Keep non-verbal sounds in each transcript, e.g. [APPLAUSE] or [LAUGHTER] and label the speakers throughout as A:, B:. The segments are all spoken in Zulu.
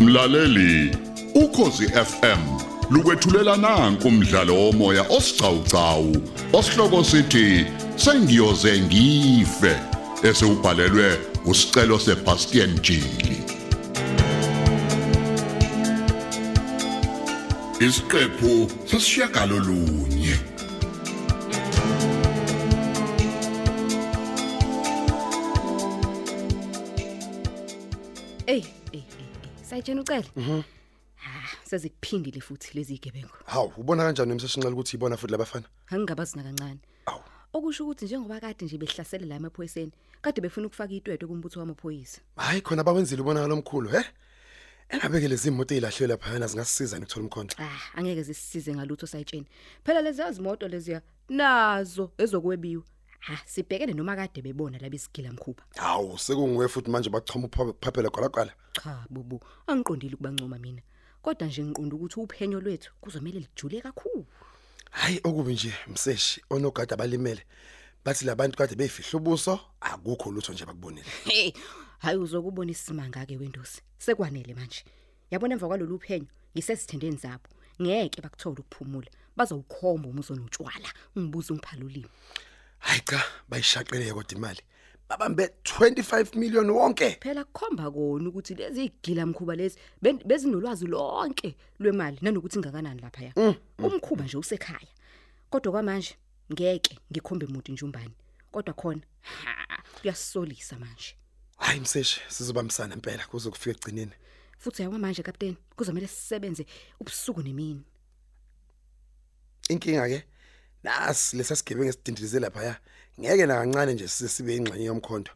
A: Mlaleli, ukhosi FM lukwethulela nanku umdlalo womoya osiqhawqhawo osihloko sithi sengiyoze ngife esewubhalelwe usicelo seBastian Jili. Isiqephu sesishiyagalo lunye.
B: Ey, ey, sayitshena ucele. Mhm. Ah, sezikuphindile futhi lezi gebengu.
C: Hawu, ubona kanjani emsesinqele ukuthi ibona futhi labafana?
B: Angingabazina kancane.
C: Awu.
B: Okusho ukuthi njengoba kade nje behlasele la emaphoyiseni, kade befuna ukufaka itwetwe kumbutho wamaphoyisa.
C: Hayi khona bawenzile ubona lomkhulu, he? Engabeke lezi moto ezilahlwe lapha yana zingasisiza nikuthola umkhonto.
B: Ah, angeke zisisize ngalutho sayitshena. Phela lezi zimoto lezi nazo ezokwebiwa. Ha, sibhekene noma kade bebona labesigila mkhuba.
C: Hawu, sekungiwe futhi manje bachoma uphaphela kwalaqala.
B: Cha bubu, angiqondile ukubancoma mina. Kodwa nje ngiqonda ukuthi uphenyo lwethu kuzomela lijule kakhulu.
C: Hayi okubi nje mseshi onogada abalimele. Bathi labantu kade beyifihla ubuso, akukho lutho nje bakubonile.
B: Hey, hayi uzokubona isimanga ke wendosi. Sekwanele manje. Yabona emva kwalolu phenyo, ngisesithendeni zabo. Ngeke bakuthola ukuphumula. Bazowukhomba umuzo notshwala. Ngibuza ungiphalulimi.
C: Hayi cha, bayishaqeleke kodwa imali. Babambe 25 million wonke.
B: Phela kukhomba kona ukuthi lezi igila mkhuba lezi ben- bezinolwazi lonke lwemali nanokuthi ingakanani lapha ya. Umkhuba nje usekhaya. Kodwa kwamanje ngeke ngikhombe umuntu njumbani. Kodwa khona ha, kuyasolisa manje.
C: Hayi mseshi, sizobamsana impela kuze kufike egcineni.
B: Futhi yabo manje captain kuzomela sisebenze ubusuku nemini.
C: Inkinga ke nasi lesasigebengu esidindilize lapha ya. Ngeke na kancane nje sise sibe ingxenye yomkhonto.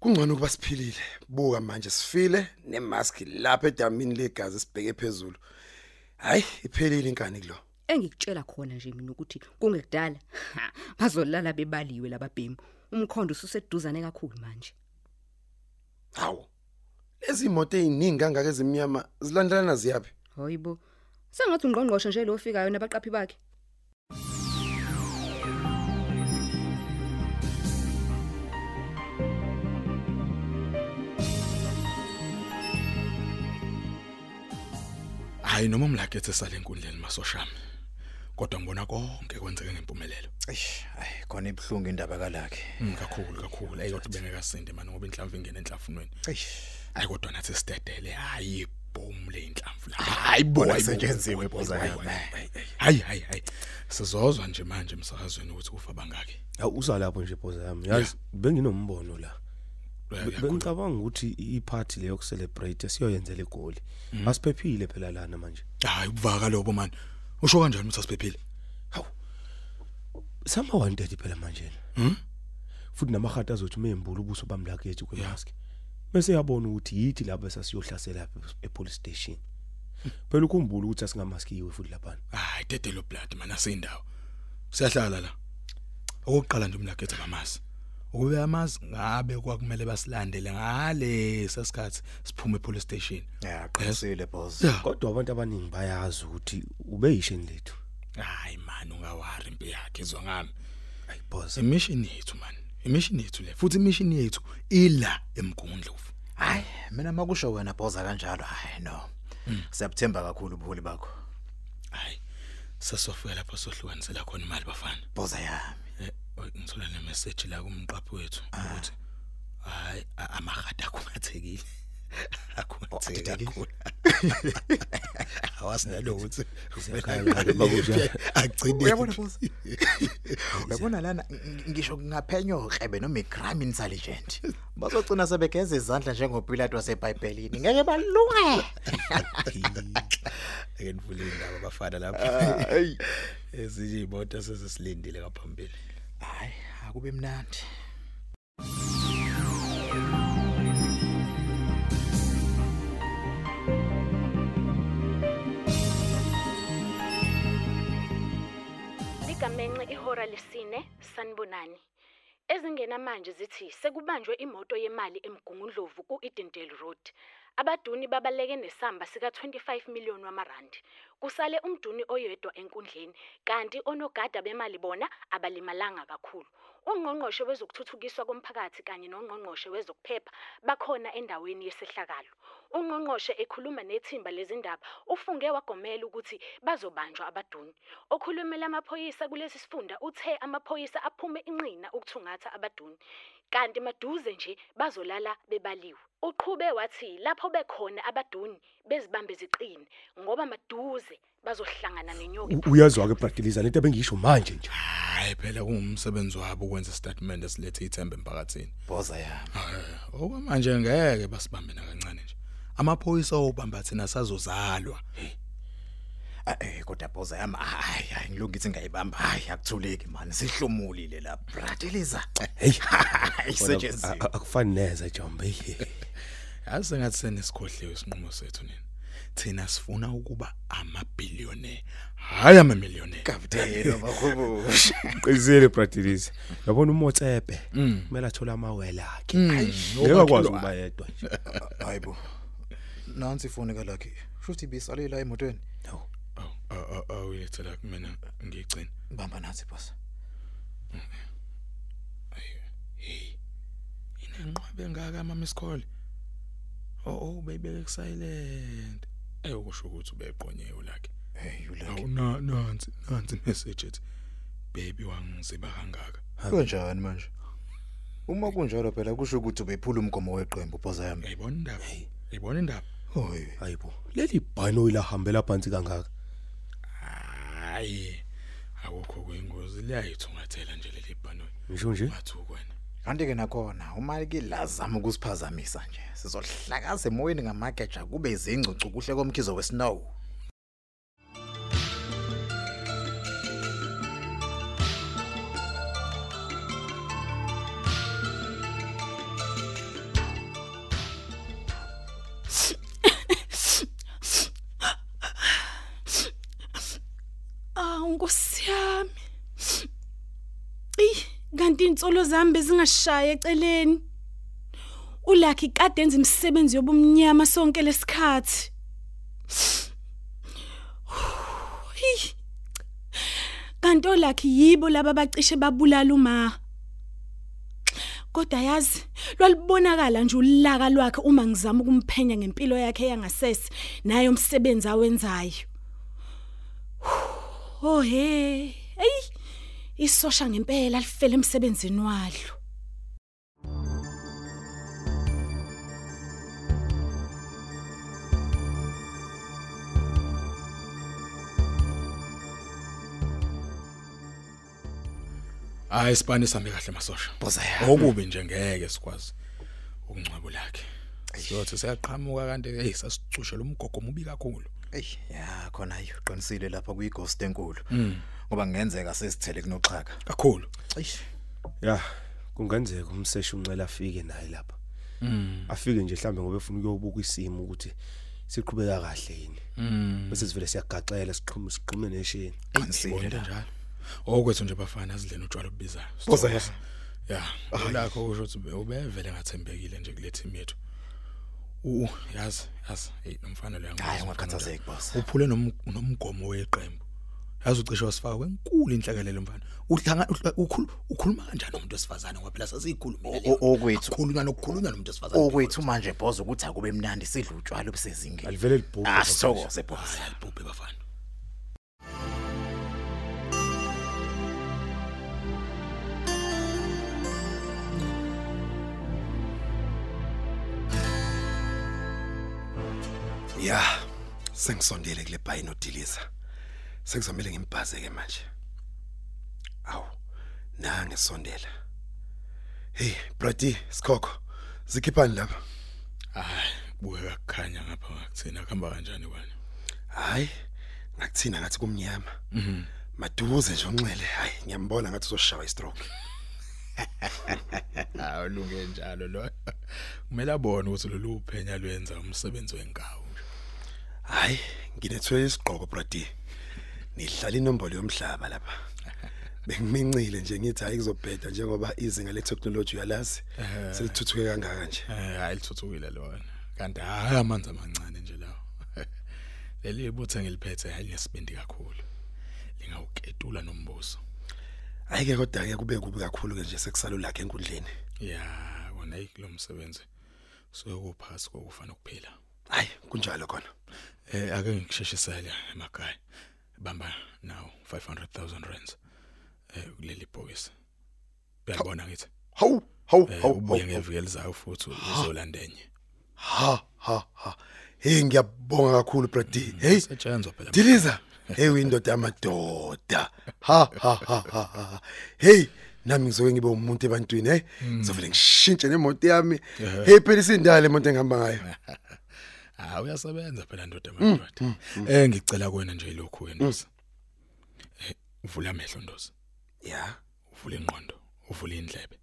C: Kungcono ukuba siphilile. Buka manje sifile nemask lapha edamini legazi sibheke phezulu. Hayi iphelile inkani kulo.
B: engikutshela khona nje mina ukuthi kungekudala ha, bazolala bebaliwe lababhemu umkhondo ususeduzane kakhulu manje
C: Hawu. Lezi moto eziningi kangaka ezimnyama zilandelana ziyapi?
B: hoyibo sengathi ungqongqoshe nje lo ofikayo nabaqaphi bakhe
D: hayi noma umlakethe sale nkundleni masoshami kodwa ngibona konke kwenzeke ngempumelelo
E: Eish, ay khona ibhlungu indaba kalakhe.
D: Mm, kakhulu kakhulu ayikho bengekasinde manje ngoba inhlamvu ingena enhlafunweni
E: Eish,
D: hayi kodwa nathi sidedele hayi boom le inhlamvu la hayi bo
E: Bona
D: hayi bo,
E: isetshenziwe
D: hayi bo,
E: ibhoza
D: hayi bo,
E: yona.
D: hayi bo. hayi hayi hayi sizozwa nje manje emsakazweni ukuthi kufa bangaki
F: Hawu uza lapho nje boza yami. Yazi benginombono la.
D: Uya-
F: Be-
D: uyakhuluma.
F: Bengicabanga ukuthi i- i-party leyo celebrate siyoyenzela igoli. Asiphephile phela lana manje.
D: hayi ubuvaka lobo man usho kanjani ukuthi asiphephile
F: Sama wanted phela manje. Mhm. Futhi namahata azothi mezembula ubuso bamlakethi kwemask. Bese yabona ukuthi yithi laba sasiyohlasela e-police station. Phela ukhumbula ukuthi asingamaskiwe futhi lapha.
D: hayi dedelo blood man asindawo siyahlala la okokuqala nje umlakethe bamazi ukube amazi ngabe kwakumele basilandele ngale sesikhathi siphume epolice station
E: yaqhinisile boss.
D: ya
F: Kodwa abantu abaningi bayazi ukuthi ubeyishini lethu.
D: hayi man ungawari impi yakhe izwa ngami
F: Ayiboza.
D: imission yethu man imission yethu le futhi imission yethu ila emgundlovu
E: Hayi, mina makusho wena boss kanjalo, hayi no. Siyabuthemba kakhulu ubuholi bakho.
D: hayi sasofika lapho sohlukanisela khona imali bafana
E: Boss yami.
D: Eh, oy, ngithola le message la kumqaphi wethu ukuthi hayi a-
E: [LAUGHS]
D: amahata kungathekile
E: athekile?
D: akuthekile [LAUGHS] awasinalo ukuthi
F: Siyakhaya ngalo bakusho.
D: agcine
E: Uyabona boss?
D: [LAUGHS]
E: Uyabona lana ng- ngisho ngaphenyo krebe noma icrime insa
D: [LAUGHS]
E: legend. Bazocina sebegeza izandla njengoPilate waseBhayibhelini. Ngeke balunge.
D: ake nivule indaba bafana
E: Ah,
D: lapha
E: ayi.
D: ezinye imoto sesesilindile kaphambili
E: Hayi, akube mnandi.
G: ligamenxe ihora lesine sanibonani ezingena manje zithi sekubanjwe imoto yemali emgungundlovu ku-Edendale Road abaduni babaleke nesamba sika 25 million wamarandi kusale umduni oyedwa enkundleni kanti onogada bemali bona abalimalanga kakhulu ungqongqoshe wezokuthuthukiswa komphakathi kanye nongqongqoshe wezokuphepha bakhona endaweni yesehlakalo Ungqongqoshe ekhuluma nethimba lezindaba ufunge wagomela ukuthi bazobanjwa abaduni. Okhulumela amaphoyisa kulesi sifunda uthe amaphoyisa aphume inqina ukuthungatha abaduni. Kanti maduze nje bazolala bebaliwe. Uqhube wathi lapho bekhona abaduni bezibambe ziqine ngoba maduze bazohlangana nenyoka.
F: U- uyazwa-ke bradiliza lento ebengisho manje nje
D: hayi phela kungumsebenzi wabo ukwenza istatement esilethe ithemba emphakathini
E: boza yami
D: Eh, okwamanje ngeke basibambe nakancane nje amaphoyisa obamba thina sazozalwa
E: Ah, eh kodwa boza yami hayi hayi ngilungitsi ngayibamba hayi akuthuleki man sihlumulile la brad eliza [LAUGHS]
F: heyi
E: isetshenziswa
F: akufani neze jombe
D: yazi sengathi senesikhohliwe isinqumo sethu nini thina sifuna ukuba amabillionaire hayi amamillionaire
E: [LAUGHS] kapteni bakhubushi
F: qinisile bradiliza yabona umotsebe
D: Mm.
F: kumele athole amawele akhe ngeke akwazi ukuba yedwa nje
E: hayibo nansi ifoni kalakhi shuthi ibisale la emotweni
D: Oh, awuyethela kumina ngigcina
E: bamba nathi boss
D: hey inenqwabe ngaka ama miss call oh oh beyibeke silent ayokusho ukuthi ubeqonyewe lakhe
E: hey you
D: Awu,
E: lucky
D: na- nansi nansi message ethi baby wangiziba kangaka
E: kanjani manje uma kunjalo phela kusho ukuthi ubephula umgomo weqembu boza yami
D: uyayibona indaba uyayibona indaba
E: hoy
F: hayibo leli bhanoyi lahambela phansi kangaka
D: hayi akukho kuyingozi liyayithungathela nje leli bhanoyi
F: ngisho nje
D: wathi ukwena
E: kanti ke nakhona uma ke lazama ukusiphazamisa nje sizohlakaza emoyeni ngamageja kube izingcucu kuhle komkhizo wesnow
G: Awu nkosiyami. Ey, kanti insolo zami bezingashaya eceleni. Ulakhi kade enza imisebenzi yobumnyama sonke lesikhathi. [SIGHS] Hey. Kanti olakhi yibo laba bacishe babulala uma. Kodwa yazi lwalibonakala nje ulaka lwakhe uma ngizama ukumphenya ngempilo yakhe yangasese nayo umsebenzi awenzayo. [SIGHS] Oh hey. Ey. Isosha ngempela lifele emsebenzini walo.
D: hayi isipani sambe kahle masosha
E: boza yami
D: okubi nje ngeke sikwazi ukungcwabo lakhe siyothi siyaqhamuka kanti hey sasicushela umgogo mubi kakhulu
E: ey ya khona iqinisile lapha kuyighost enkulu ngoba kungenzeka sesithele kunoxhaka
D: kakhulu
E: Mm. eish
F: ya kungenzeka umseshi uncela afike naye lapha
E: Mm,
F: afike nje mhlambe ngoba efuna ukuyobuka isimo ukuthi siqhubeka kahle yini
E: mm.
F: bese sivele siyagaxela siqhume siqhume neshini
E: qinisile
D: bonke
E: la.
D: njalo okwethu nje bafana azidleni utshwala obubizayo
C: Boza ya.
D: ya ulakho usho ukuthi ube- ubevele ngathembekile nje kule team yethu u yazi yazi hey nomfana lo yangu
E: hayi ungakhathazeki boss
D: uphule nom- nomgomo weqembu yazi ucishe wasifaka kwenkulu inhlakalelo mfana uhlanga uhla- ukhul- ukhuluma kanjani umuntu wesifazane ngoba phela sasiyikhulumile
E: O- o- okwethu.
D: khulunywa nokukhulunywa nomuntu wesifazane
E: okwethu manje boss ukuthi akube mnandi sidla utshwala obusezingeni
F: alivele libhuku
E: asithokoze boss
D: alibhubhe bafana
C: Ya, sengisondele kule bhayi nodiliza. Sengizomela ngimbhaze ke manje. Aw, nange sondela. Hey, brady, sikhokho. Zikhiphani lapha?
D: hayi kubuye kakukhanya ngapha ngakuthina kuhamba kanjani kwani
C: Hayi, ngakuthina ngathi kumnyama. Mhm. Maduze nje unxele, hayi ngiyambona ngathi uzoshawa istroke.
D: awulunge njalo lo kumele abone ukuthi lolu phenya lwenza umsebenzi wenkawu
C: Hayi, nginethwe isiqhoko brady. Nidlala inombolo yomhlaba lapha. Bengimincile nje ngithi hayi kuzobhedda njengoba izinga letechnology uyalazi selithuthuke kangaka nje.
D: Eh hayi lithuthukile lona. Kanti hayi amanzi amancane nje lawo. [LAUGHS] Leli ibuthe ngiliphethe hayi lesibindi kakhulu. Lingawuketula nombuso.
C: Ayike kodwa ke kube kubi kakhulu ke nje sekusalo lakhe enkundleni.
D: Ya, wona ikulomsebenzi. Sokuphasa kokufa nokuphila.
C: hayi kunjalo khona
D: Eh ake ngikusheshesele emakhaya. Bamba now 500,000 rands. Eh kuleli bhokisi. Uyabona ngithi.
C: hawu hawu
D: Eh
C: hawu
D: ubuye
C: hawu
D: ngevikeli zayo futhi uzolanda enye.
C: ha ha ha hey ngiyabonga kakhulu brady hey
D: Setshenzwa phela.
C: diliza hey uyindoda yamadoda ha ha ha ha, ha hey nami ngizoke ngibe umuntu ebantwini hey ngizovele ngishintshe nemoto yami hey phela isindala le moto engihamba ngayo
D: Ah uyasebenza phela ndoda madoda. Eh ngicela kuwena nje lokhu wendoza. Eh uvula amehlo ndoza.
C: ya
D: Uvula ingqondo, uvula indlebe.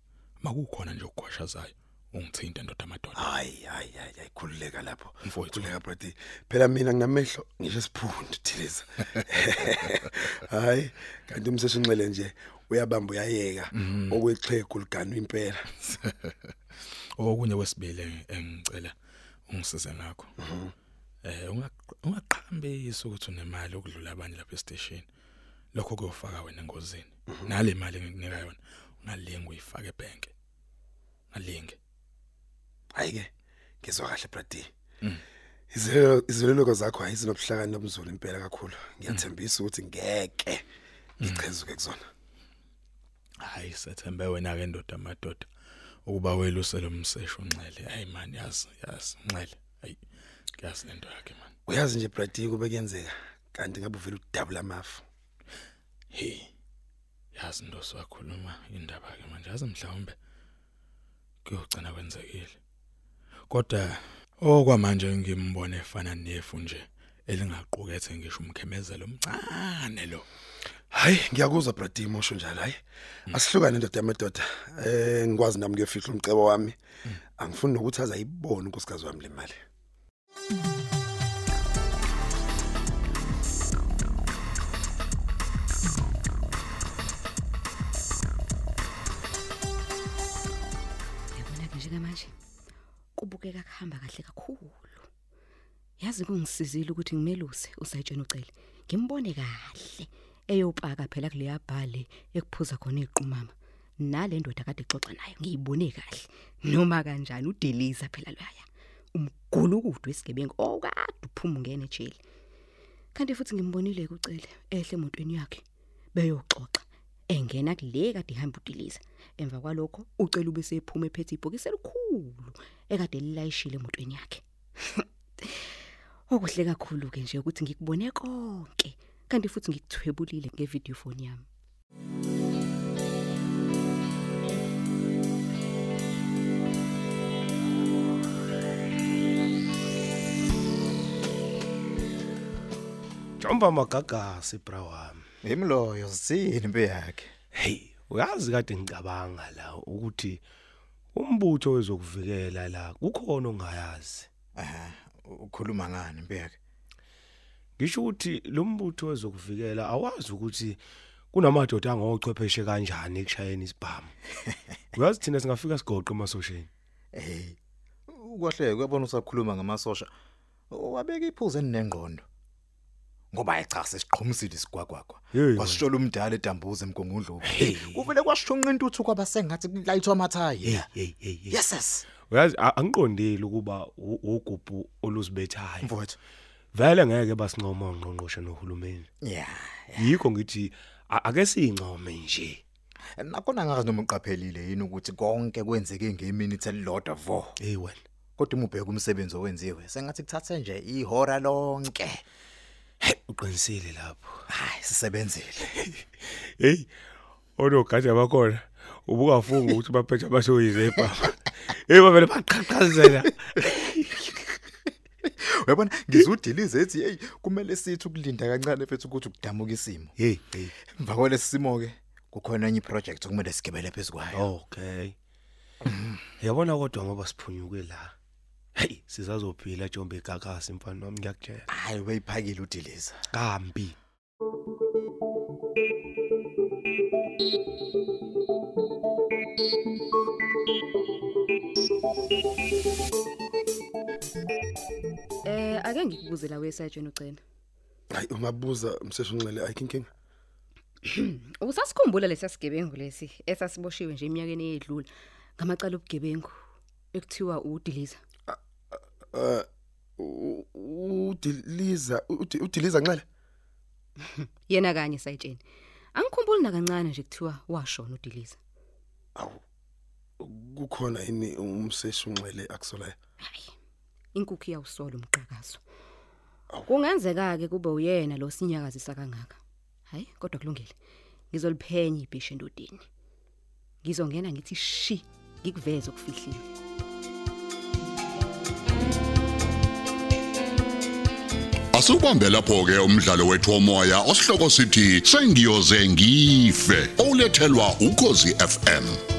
D: Makukhona nje ukugwashazayo ungithinte ndoda madoda.
C: hayi hayi hayi hayi, khululeka lapho
D: Mfowethu.
C: khululeka brady phela mina nginamehlo ngisho siphundu diliza hayi kanti umseshi unxele nje uyabamba uyayeka okwexhegu liganu impela
D: okunye kwesibili engicela ungisize ngakho eh unga- ungaqhambisi ukuthi unemali ukudlula abanye lapha e-station lokho kuyofaka wena engozini nale mali engikunika yona ungalingi uyifake ebhenki ngalingi
C: hayi ke ngizwa kahle brady izilo iziloloko zakho ayizinobuhlakani nobuzulu impela kakhulu ngiyathembisa ukuthi ngeke ngichezuke kuzona
D: hayi sethembe wena ke ndoda madoda ukuba welusele umseshu unxele hayi man yazi yazi unxele hayi yazi lento yakhe man
C: uyazi nje brady kube kuyenzeka kanti ngabe uvela udabula amafu
D: hey yazi into sokhuluma indaba ke manje yazi mhlawumbe kuyogcina kwenzekile kodwa okwamanje ngimbone efana nefu nje elingaqukethe ngisho umkhemezelo omncane lo
C: hayi ngiyakuzwa brady mosho njalo hayi asihlukane ndoda yamadoda eh ngikwazi nami kuyefihla umcebo wami angifuni nokuthi azayibone unkosikazi wami le mali
B: yabona ke njengamanje kubukeka kuhamba kahle kakhulu yazi kungisizile ukuthi ngimeluse usayitshena ucele ngimbone kahle eyopaka phela kuleya bhale ekuphuza khona iqumama nale ndoda kade exoxa nayo ngiyibone kahle noma kanjani udeliza phela loya umgulukudu wesigebengu okade uphuma ungene ejele kanti futhi ngimbonile ucele ehle emotweni yakhe beyoxoxa engena kule kade ihamba udiliza emva kwalokho ucela ube sephuma ephethe ibhokisi elikhulu ekade lilayishile emotweni yakhe [LAUGHS] okuhle kakhulu ke nje ukuthi ngikubone konke kanti futhi ngikuthwebulile ngevideo phone yami
F: Jomba magagasi bra wami.
E: Imloyo sithini impi yakhe.
F: Hey, uyazi kade ngicabanga la ukuthi umbutho wezokuvikela la kukhona ongayazi.
E: Eh ukhuluma ngani impi yakhe?
F: Ngisho ukuthi lo mbutho wezokuvikela awazi ukuthi kunamadoda angochwepheshe kanjani ekushayeni isibhamu. Uyazi thina singafika sigoqe emasosheni.
E: Hey. Ukwahle Eh, kuyabona usakhuluma ngamasosha. Wabeka iphuze enengqondo. Ngoba cha sesiqhumisile sigwagwagwa.
F: Hey,
E: Kwasishola umdala edambuze emgongondlovu. Kuvele kwashonqa intuthu kwabasengathi kulayithwa amathayi. la.
F: hey, hey, hey.
E: Yes yes.
F: Uyazi a- angiqondile ukuba u- ugubhu oluzibethayo.
E: Mfowethu.
F: Vele ngeke basincoma ongqonqoshe nohulumeni.
E: Yeah.
F: Yikho ngithi a- ake siyincome nje.
E: Nakona ngazi noma uqaphelile yini ukuthi konke kwenzeke ngeminithe elilodwa vo.
F: Hey wena.
E: Kodwa uma ubheka umsebenzi owenziwe, sengathi kuthathe nje ihora lonke.
F: Uqinisile lapho.
E: Hayi sisebenzile.
F: hey onogadi abakhona ubukafunga ukuthi baphethe abasoyize ebhama hey bavele baqhaqhazela
E: Uyabona ngizudilize ethi hey kumele sithi ukulinda kancane mfethu ukuthi kudamuka isimo.
F: hey hey
E: Emva kwalesi simo ke kukhona enye iproject okumele sigibele phezukwayo.
F: okay yabona kodwa ngoba siphunyuke la hey sizazophila jombe igagasi mfana wami ngiyakutshela
E: Hayi uyiphakile udiliza.
F: kambi
B: eh ake ngikubuze la wesajeni ucela
C: hayi ungabuza umseshi unxele ayikinkinga
B: usasikhumbula lesa sigebengu lesi esasiboshiwe nje eminyakeni eyedlule ngamacala obugebengu ekuthiwa udiliza
C: eh u- u- udiliza ude- udiliza nxele
B: Yena kanye sayitsheni. Angikhumbuli nakancane nje kuthiwa washona uDiliza.
C: awu kukhona yini umseshi unxele akusolayo
B: Hayi. Inkukhu iyawusola umqhakazo. Kungenzeka ke kube uyena lo sinyakazisa kangaka. Hayi kodwa kulungile. Ngizoliphenya ibhishe endodeni. Ngizongena ngithi shi ngikuveze okufihliwe.
A: Asubambe lapho ke umdlalo wethu womoya osihloko sithi sengiyoze ngife olethelwa ukozi FM